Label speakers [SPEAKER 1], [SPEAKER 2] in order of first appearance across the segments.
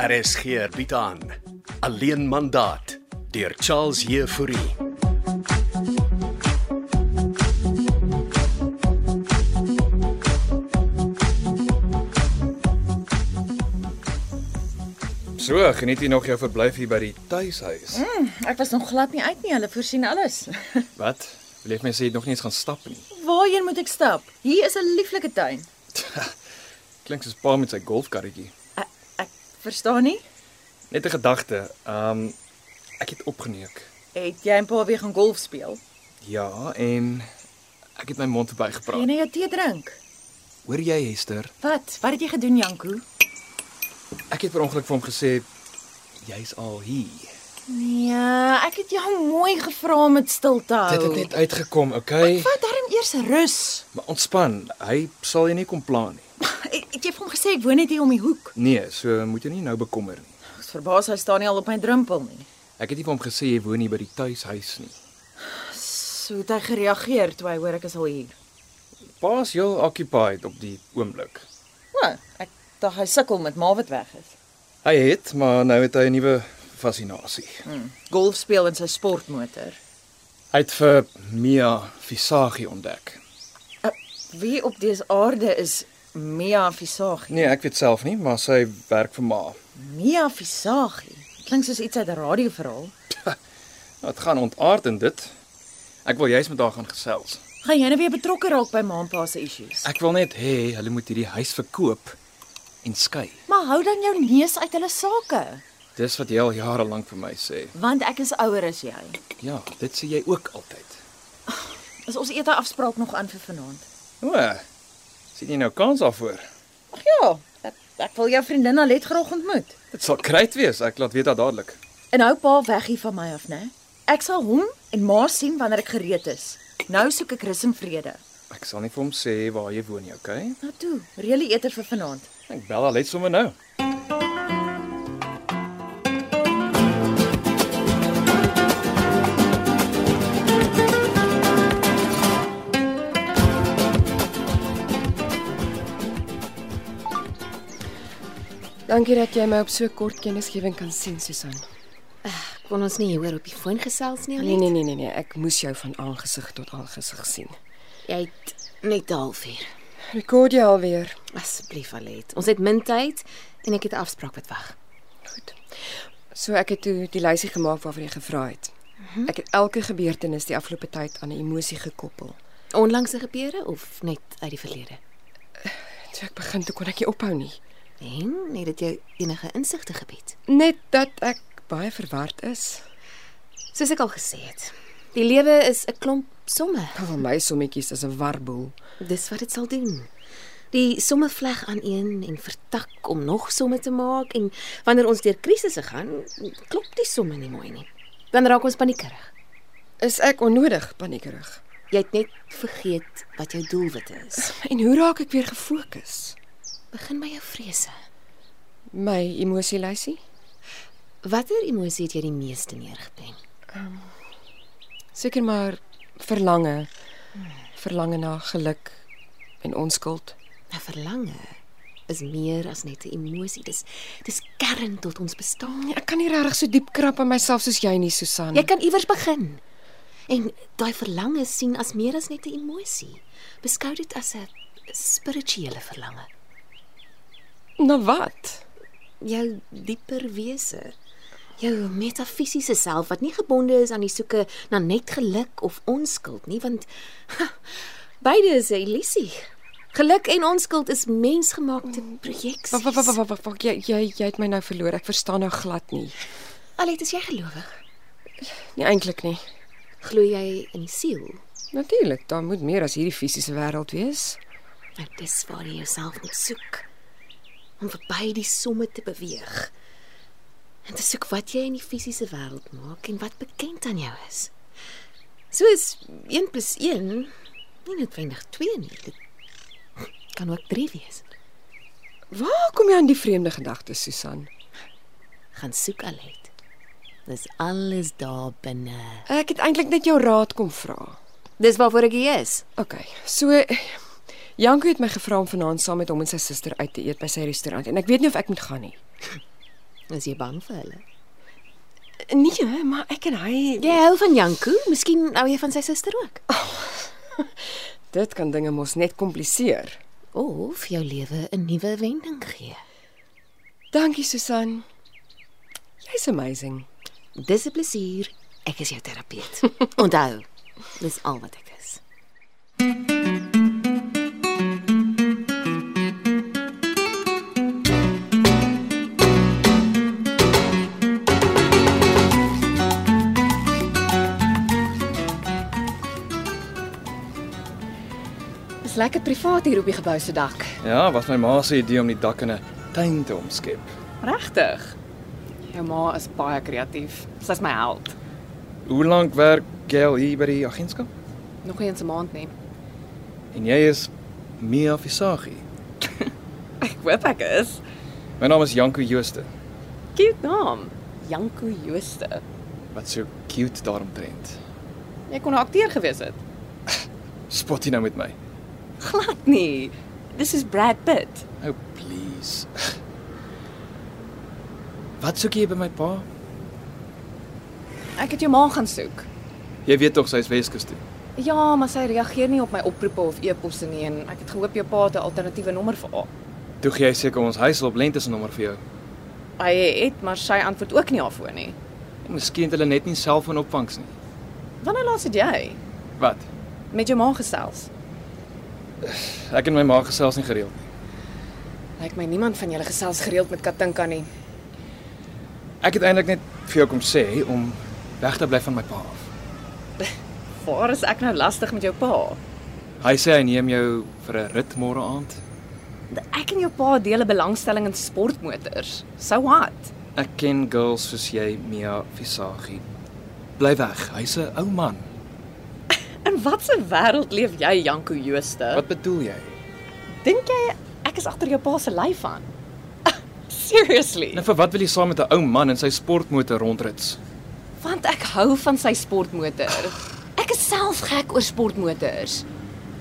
[SPEAKER 1] RSG bied aan Alleen mandaat deur Charles Jefouri.
[SPEAKER 2] So, geniet jy nog jou verblyf hier by die tuishuis? Mm.
[SPEAKER 3] Ek was nog glad nie uit nie. Hulle voorsien alles.
[SPEAKER 2] Wat? Wil jy vir my sê jy het nog nie eens gaan stap nie?
[SPEAKER 3] Waarheen moet ek stap? Hier is 'n lieflike tuin.
[SPEAKER 2] Klink soos pa met sy golfkarretjie.
[SPEAKER 3] Ek, ek verstaan nie.
[SPEAKER 2] Net 'n gedagte. Ehm um, ek het opgeneuk.
[SPEAKER 3] Het jy 'n paar weer gaan golf speel?
[SPEAKER 2] Ja, en ek het my mond
[SPEAKER 3] Gaan jy
[SPEAKER 2] verbygepraat.
[SPEAKER 3] nou jou tee drink?
[SPEAKER 2] Hoor jy Hester?
[SPEAKER 3] Wat? Wat het jy gedoen, Janko?
[SPEAKER 2] Ek het per ongeluk vir hom gesê jy's al hier.
[SPEAKER 3] Nee, ek het jou mooi gevra om dit stil te hou.
[SPEAKER 2] Dit het net uitgekom, okay?
[SPEAKER 3] Vat darm eers rus.
[SPEAKER 2] Maar ontspan. Hy sal jou nie kom pla nie.
[SPEAKER 3] Ek het jy vir hom gesê ek woon net hier om die hoek.
[SPEAKER 2] Nee, so moet jy nie nou bekommer nie.
[SPEAKER 3] Ek's verbaas hy staan nie al op my drempel nie.
[SPEAKER 2] Ek het nie vir hom gesê jy woon hier by die tuishuis nie.
[SPEAKER 3] So het hy gereageer toe hy hoor ek is al hier.
[SPEAKER 2] Pa's heel occupied op die oomblik.
[SPEAKER 3] Nou, ek dink hy sukkel met ma wat weg is.
[SPEAKER 2] Hy het, maar nou het hy 'n nuwe fascinasie.
[SPEAKER 3] Golf speel in sy sportmotor.
[SPEAKER 2] Hy het vir Mia Visagie ontdek.
[SPEAKER 3] Uh, wie op dese aarde is Mia Visagie?
[SPEAKER 2] Nee, ek weet self nie, maar sy werk vir ma.
[SPEAKER 3] Mia Visagie. Klink soos iets uit 'n radioverhaal.
[SPEAKER 2] Dit gaan ontaard in dit. Ek wil juis met haar gaan gesels.
[SPEAKER 3] Gaan jy nou weer betrokke raak by ma en pa se issues?
[SPEAKER 2] Ek wil net hê hulle moet hierdie huis verkoop en skei.
[SPEAKER 3] Maar hou dan jou neus uit hulle sake,
[SPEAKER 2] Dis wat jy al jare lank vir my sê.
[SPEAKER 3] want ek is ouer as jy.
[SPEAKER 2] Ja, dit sê jy ook altyd.
[SPEAKER 3] Is ons ete afspraak nog aan vir vanaand?
[SPEAKER 2] O, sien jy nou kans daarvoor?
[SPEAKER 3] Ag ja, ek, ek wil jou vriendin Alet graag ontmoet.
[SPEAKER 2] Dit sal kryt wees. Ek laat weet dat dadelik.
[SPEAKER 3] En hou pa weg hier van my af, né? Ek sal hom en ma sien wanneer ek gereed is. Nou soek ek rus en vrede.
[SPEAKER 2] Ek sal nie vir hom sê waar jy woon nie, okay?
[SPEAKER 3] Nou toe, reël die ete vir vanaand.
[SPEAKER 2] Ek bel haar net sommer nou.
[SPEAKER 4] Dankie dat jy my op so kort kennisgewing kan sien, Susan.
[SPEAKER 5] Kon ons nie hieroor op die foon gesels nie,
[SPEAKER 4] Nee nee nee nee nee, ek moes jou van aangesig tot aangesig sien.
[SPEAKER 5] Jy het net 'n halfuur.
[SPEAKER 4] Rekord jy alweer.
[SPEAKER 5] Asseblief,
[SPEAKER 4] nee.
[SPEAKER 5] Alet. Ons het min tyd en ek het 'n afspraak wat wag.
[SPEAKER 4] Goed. So ek het toe die lysie gemaak waarvan jy gevra het.
[SPEAKER 5] Mhm.
[SPEAKER 4] Ek het elke gebeurtenis die afgelope tyd aan 'n emosie gekoppel.
[SPEAKER 5] Onlangse gebeure of net uit die verlede?
[SPEAKER 4] Toe ek begin toe kon ek nie ophou nie.
[SPEAKER 5] En het dit jou enige insigte gebied?
[SPEAKER 4] Net dat ek baie verward is.
[SPEAKER 5] Soos ek al gesê het, die lewe is 'n klomp somme.
[SPEAKER 4] Van my sommetjies is 'n warboel.
[SPEAKER 5] Dis wat dit sal doen. Die somme vleg aan een en vertak om nog somme te maak en wanneer ons deur krisisse gaan, klop die somme nie mooi nie. Dan raak ons paniekerig.
[SPEAKER 4] Is ek onnodig paniekerig?
[SPEAKER 5] Jy het net vergeet wat jou doelwitte is.
[SPEAKER 4] En hoe raak ek weer gefokus?
[SPEAKER 5] Begin by jou vrese.
[SPEAKER 4] My emosielysie?
[SPEAKER 5] Watter emosie het jy die meeste neergepen?
[SPEAKER 4] Seker maar verlange. Verlange na geluk en onskuld.
[SPEAKER 5] 'n Nou, Verlange is meer as net 'n emosie. Dis dis kern tot ons bestaan.
[SPEAKER 4] Ja, Ek kan nie regtig so diep krap aan myself soos jy nie, Susan.
[SPEAKER 5] Jy kan iewers begin. En daai verlange sien as meer as net 'n emosie. Beskou dit as 'n spirituele verlange.
[SPEAKER 4] na wat?
[SPEAKER 5] Jou dieper wese. Jou metafisiese self wat nie gebonde is aan die soeke na net geluk of onskuld nie, want beide is 'n illusie. Geluk en onskuld is mensgemaakte projeksies.
[SPEAKER 4] Wag wag wag wag wag, wag, jy jy jy het my nou verloor. Ek verstaan nou glad nie.
[SPEAKER 5] Alet, is jy gelowig?
[SPEAKER 4] Nie eintlik nie.
[SPEAKER 5] Glo jy in die siel?
[SPEAKER 4] Natuurlik, daar moet meer as hierdie fisiese wêreld wees.
[SPEAKER 5] Nou dis waar jy jouself moet soek om verby die somme te beweeg. En te soek wat jy in die fisiese wêreld maak en wat bekend aan jou is. So is 1 + 1 nie noodwendig 2 nie. Dit kan ook 3 wees.
[SPEAKER 4] Waar kom jy aan die vreemde gedagtes, Susan?
[SPEAKER 5] Gaan soek Alet. Dis alles daar binne.
[SPEAKER 4] Ek het eintlik net jou raad kom vra.
[SPEAKER 5] Dis waarvoor ek hier is.
[SPEAKER 4] OK. So Janko het my gevra om vanaand saam met hom en sy suster uit te eet by sy restaurant en ek weet nie of ek moet gaan nie.
[SPEAKER 5] Is jy bang vir hulle?
[SPEAKER 4] Nee, maar ek en hy
[SPEAKER 5] Jy hou van Janku, miskien hou jy van sy suster ook.
[SPEAKER 4] Dit kan dinge mos net kompliseer.
[SPEAKER 5] Of jou lewe 'n nuwe wending gee.
[SPEAKER 4] Dankie Susan. Jy's amazing.
[SPEAKER 5] Dis 'n plesier. Ek is jou terapeut. Onthou, dis al wat ek is.
[SPEAKER 4] Dis lekker privaat hier op die gebou se dak.
[SPEAKER 2] Ja, was my ma se idee om die dak in 'n tuin te omskep.
[SPEAKER 6] Regtig? Jou ma is baie kreatief. Sy's my held.
[SPEAKER 2] Hoe lank werk jy al hier by die agentskap?
[SPEAKER 6] Nog nie eens 'n maand nie.
[SPEAKER 2] En jy is Mia Visagie.
[SPEAKER 6] Ek hoop ek is.
[SPEAKER 2] My naam is Janko Jooste.
[SPEAKER 6] Cute naam. Janko Jooste.
[SPEAKER 2] Wat so cute daaromtrent.
[SPEAKER 6] Jy kon 'n akteur gewees het.
[SPEAKER 2] Spot jy nou met my?
[SPEAKER 6] Glad nie. Dis is Brad Pitt.
[SPEAKER 2] Oh please. Wat soek jy by my pa?
[SPEAKER 6] Ek het jou ma gaan soek.
[SPEAKER 2] Jy weet tog sy is Weskus toe.
[SPEAKER 6] Ja, maar sy reageer nie op my oproepe of e-posse nie en ek het gehoop jou pa het 'n alternatiewe nommer vir haar.
[SPEAKER 2] Toe gee jy seker ons huis op lente se nommer vir jou.
[SPEAKER 6] Hy het, maar sy antwoord ook nie haar foon nie.
[SPEAKER 2] En miskien het hulle net nie selfoon opvangs nie.
[SPEAKER 6] Wanneer laas het jy
[SPEAKER 2] Wat?
[SPEAKER 6] met jou ma gesels?
[SPEAKER 2] Ek en my ma gesels nie gereeld nie.
[SPEAKER 6] Lyk my niemand van julle gesels gereeld met Katinka nie.
[SPEAKER 2] Ek het eintlik net vir jou kom sê om weg te bly van my pa af.
[SPEAKER 6] Waar is ek nou lastig met jou pa?
[SPEAKER 2] Hy sê hy neem jou vir 'n rit môre aand.
[SPEAKER 6] Ek en jou pa deel 'n belangstelling in sportmotors. So what?
[SPEAKER 2] Ek ken girls soos jy, Mia Visagie. Bly weg. Hy's 'n ou man.
[SPEAKER 6] In watse wêreld leef jy, Janko Jooste?
[SPEAKER 2] Wat bedoel jy?
[SPEAKER 6] dink jy ek is agter jou pa se lyf aan? Seriously?
[SPEAKER 2] Nou vir wat wil jy saam met 'n ou man in sy sportmotor rondrits?
[SPEAKER 6] Want ek hou van sy sportmotor. Ek is self gek oor sportmotors.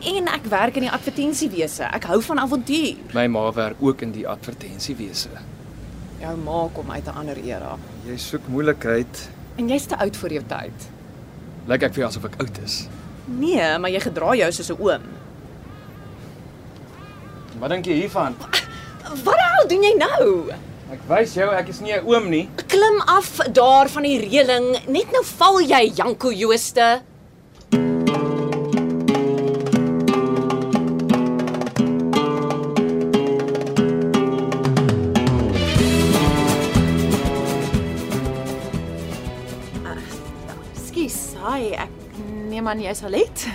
[SPEAKER 6] En ek werk in die advertensiewese. Ek hou van avontuur.
[SPEAKER 2] My ma werk ook in die advertensiewese.
[SPEAKER 6] Jou ma kom uit 'n ander era
[SPEAKER 2] Jy soek moeilikheid.
[SPEAKER 6] en jy's te oud vir jou tyd.
[SPEAKER 2] Lyk ek vir jou asof ek oud is?
[SPEAKER 6] Nee, maar jy gedra jou soos 'n oom.
[SPEAKER 2] Wat dink jy hiervan?
[SPEAKER 6] Wat die hel doen jy nou?
[SPEAKER 2] Ek wys jou ek is nie 'n oom nie.
[SPEAKER 6] Klim af daar van die reëling. Net nou val jy, Janko Jooste.
[SPEAKER 3] Skus, hi, ek neem aan jy's Alet.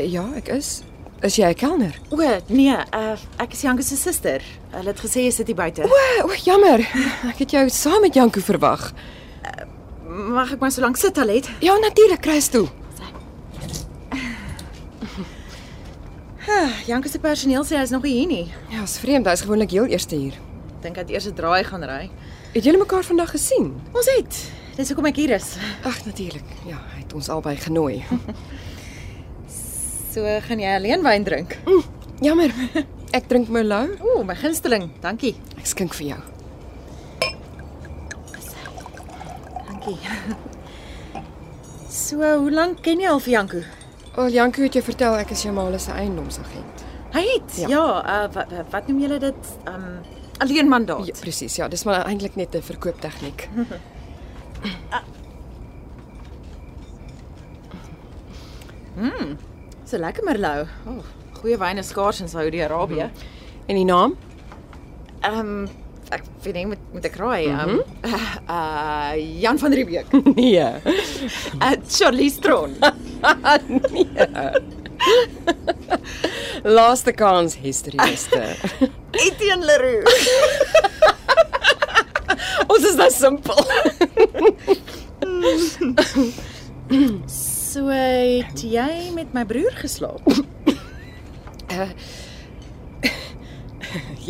[SPEAKER 4] Ja, ek is. Is jy 'n kelner?
[SPEAKER 3] O, nee,
[SPEAKER 6] eh,
[SPEAKER 3] uh, ek is Janko se suster. Hulle het gesê jy sit hier buite.
[SPEAKER 4] O, o, jammer. Ek het jou saam met Janko verwag.
[SPEAKER 3] Mag ek maar so lank sit, Alet?
[SPEAKER 4] Ja, natuurlik, kry 'n stoel.
[SPEAKER 3] Janko se personeel sê hy's nog nie hier nie.
[SPEAKER 4] Ja, is vreemd, hy's gewoonlik heel eerste hier.
[SPEAKER 3] Dink hy het eers 'n draai gaan ry.
[SPEAKER 4] Het julle mekaar vandag gesien?
[SPEAKER 3] Ons het. Dis hoekom ek hier is.
[SPEAKER 4] Ag, natuurlik. Ja, hy het ons albei genooi.
[SPEAKER 3] So gaan jy alleen wyn drink.
[SPEAKER 4] Jammer. Ek drink Merlot.
[SPEAKER 3] O, my gunsteling. Dankie.
[SPEAKER 4] Ek skink vir jou.
[SPEAKER 3] Dankie. So, hoe lank ken jy al vir Janko?
[SPEAKER 4] Al Janko het jou vertel ek is Jamala se eiendomsagent.
[SPEAKER 3] Hy het. Ja, ja
[SPEAKER 4] Ja.
[SPEAKER 3] uh, wat, wat- wat noem julle dit? Um alleen mandaat.
[SPEAKER 4] Ja, presies. Ja, dis maar eintlik net 'n verkooptegniek.
[SPEAKER 6] Mhm.
[SPEAKER 3] So lekker Merlot. O, oh, goeie wyn is skaars in Saudi-Arabië. Ehm
[SPEAKER 4] En die naam?
[SPEAKER 3] um, ek weet nie met met 'n kraai. Ehm um, uh Jan van Riebeeck.
[SPEAKER 4] Nee.
[SPEAKER 3] Uh Charlie Stron.
[SPEAKER 4] Laaste kans historieste.
[SPEAKER 3] Etienne Leroux.
[SPEAKER 4] ons is nou simpel.
[SPEAKER 3] So het jy met my broer geslaap?
[SPEAKER 4] Eh,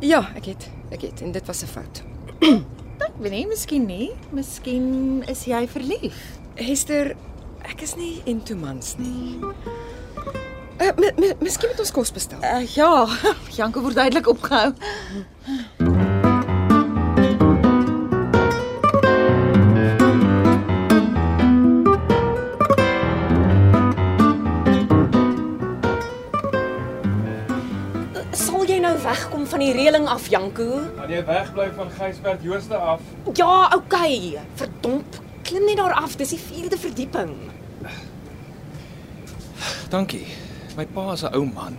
[SPEAKER 4] Ja, ek het. Ek het en dit was 'n fout.
[SPEAKER 3] Ek weet nie, Nee, miskien nie. Miskien is jy verlief.
[SPEAKER 4] Hester, ek is nie into mans nie. Uh, mi, mi, miskien moet ons kos bestel.
[SPEAKER 6] Eh,
[SPEAKER 3] Uh ja, Janko word duidelik opgehou.
[SPEAKER 7] Thank
[SPEAKER 6] nou wegkom van die reëling af, Janko.
[SPEAKER 7] Kan jy wegbly van Gysbert Jooste af?
[SPEAKER 6] Ja, okay. Verdomp, klim net daar af. Dis die vierde verdieping.
[SPEAKER 2] Dankie. My pa is 'n ou man.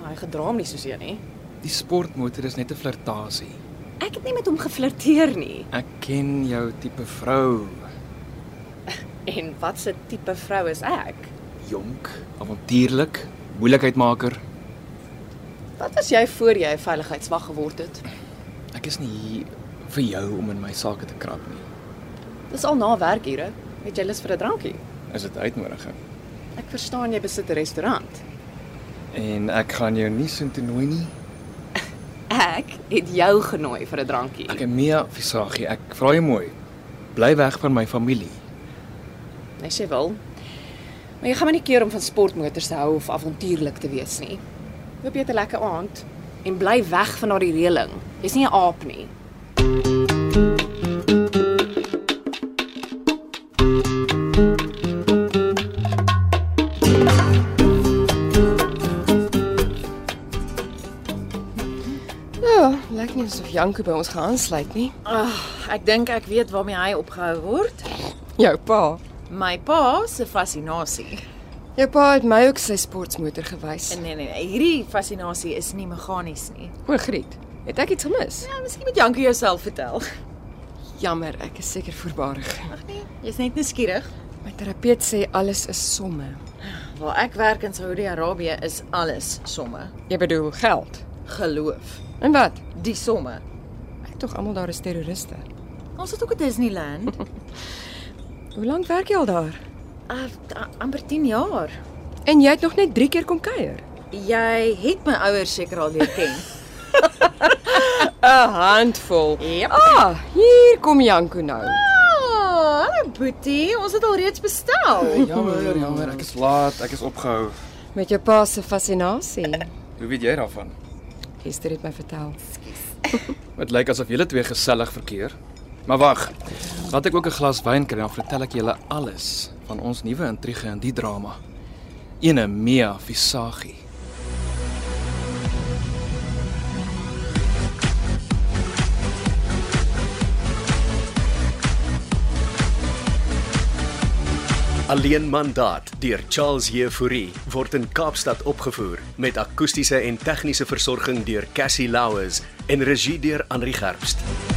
[SPEAKER 6] Maar hy gedra hom nie soseer nie.
[SPEAKER 2] Die sportmotor is net 'n flirtasie.
[SPEAKER 6] Ek het nie met hom geflirteer nie.
[SPEAKER 2] Ek ken jou tipe vrou.
[SPEAKER 6] En wat 'n tipe vrou is ek?
[SPEAKER 2] Jonk, avontuurlik, moeilikheidmaker.
[SPEAKER 6] Wat was jy voor jy 'n veiligheidswag geword het?
[SPEAKER 2] Ek is nie hier vir jou om in my sake te krap nie.
[SPEAKER 6] Dis al na werkure. Het jy lus vir 'n drankie?
[SPEAKER 2] Is dit 'n uitnodiging?
[SPEAKER 6] Ek verstaan jy besit 'n restaurant.
[SPEAKER 2] En ek gaan jou nie soontoe nooi nie.
[SPEAKER 6] Ek het jou genooi vir 'n drankie.
[SPEAKER 2] Ek is Mia Visagie. Ek vra jou mooi. Bly weg van my familie.
[SPEAKER 6] As jy wil. Maar jy gaan my nie keer om van sportmotors te hou of avontuurlik te wees nie. Hoop jy het 'n lekker aand en bly weg van daardie reëling. Jy's nie 'n aap nie.
[SPEAKER 4] Ja, lyk nie asof Janko by ons gaan aansluit nie.
[SPEAKER 3] Ag, ek dink ek weet waarmee hy opgehou word.
[SPEAKER 4] Jou pa.
[SPEAKER 3] My pa se fascinasie.
[SPEAKER 4] Jou pa het my ook sy sportmotor gewys.
[SPEAKER 3] Nee nee, nee, hierdie fascinasie is nie meganies nie.
[SPEAKER 4] O, Griet, het ek iets gemis?
[SPEAKER 3] Ja, miskien moet Jankie jouself vertel.
[SPEAKER 4] Jammer, ek is seker voorbarig.
[SPEAKER 3] Jy's net nuuskierig.
[SPEAKER 4] My terapeut sê alles is somme.
[SPEAKER 3] Waar ek werk in Saudi-Arabië is alles somme.
[SPEAKER 4] Jy bedoel geld.
[SPEAKER 3] Geloof.
[SPEAKER 4] En wat?
[SPEAKER 3] Die somme.
[SPEAKER 4] Ek tog almal daar is terroriste.
[SPEAKER 3] Ons het ook 'n Disneyland.
[SPEAKER 4] Hoe lank werk jy al daar?
[SPEAKER 3] Uh, amper 10 jaar.
[SPEAKER 4] En jy het nog net 3 keer kom kuier.
[SPEAKER 3] Jy het my ouers seker al leer ken.
[SPEAKER 4] 'n Handvol.
[SPEAKER 3] Jep.
[SPEAKER 4] Ah, hier kom Janko nou.
[SPEAKER 3] Oh, hallo Boetie, ons het al reeds bestel.
[SPEAKER 2] Jammer, jammer. Ek is laat. Ek is opgehou.
[SPEAKER 4] Met jou pa se fascinasie.
[SPEAKER 2] Hoe weet jy daarvan?
[SPEAKER 4] Esther het my vertel.
[SPEAKER 2] Dit lyk asof julle twee gesellig verkeer. Maar wag. Laat ek ook 'n glas wyn kry dan vertel ek julle alles van ons nuwe intrige in die drama. Ene Mia Visagie.
[SPEAKER 1] Alleen mandaat deur Charles Jefouri word in Kaapstad opgevoer met akoestiese en tegniese versorging deur Cassie Louws en regie deur Henri Gerst.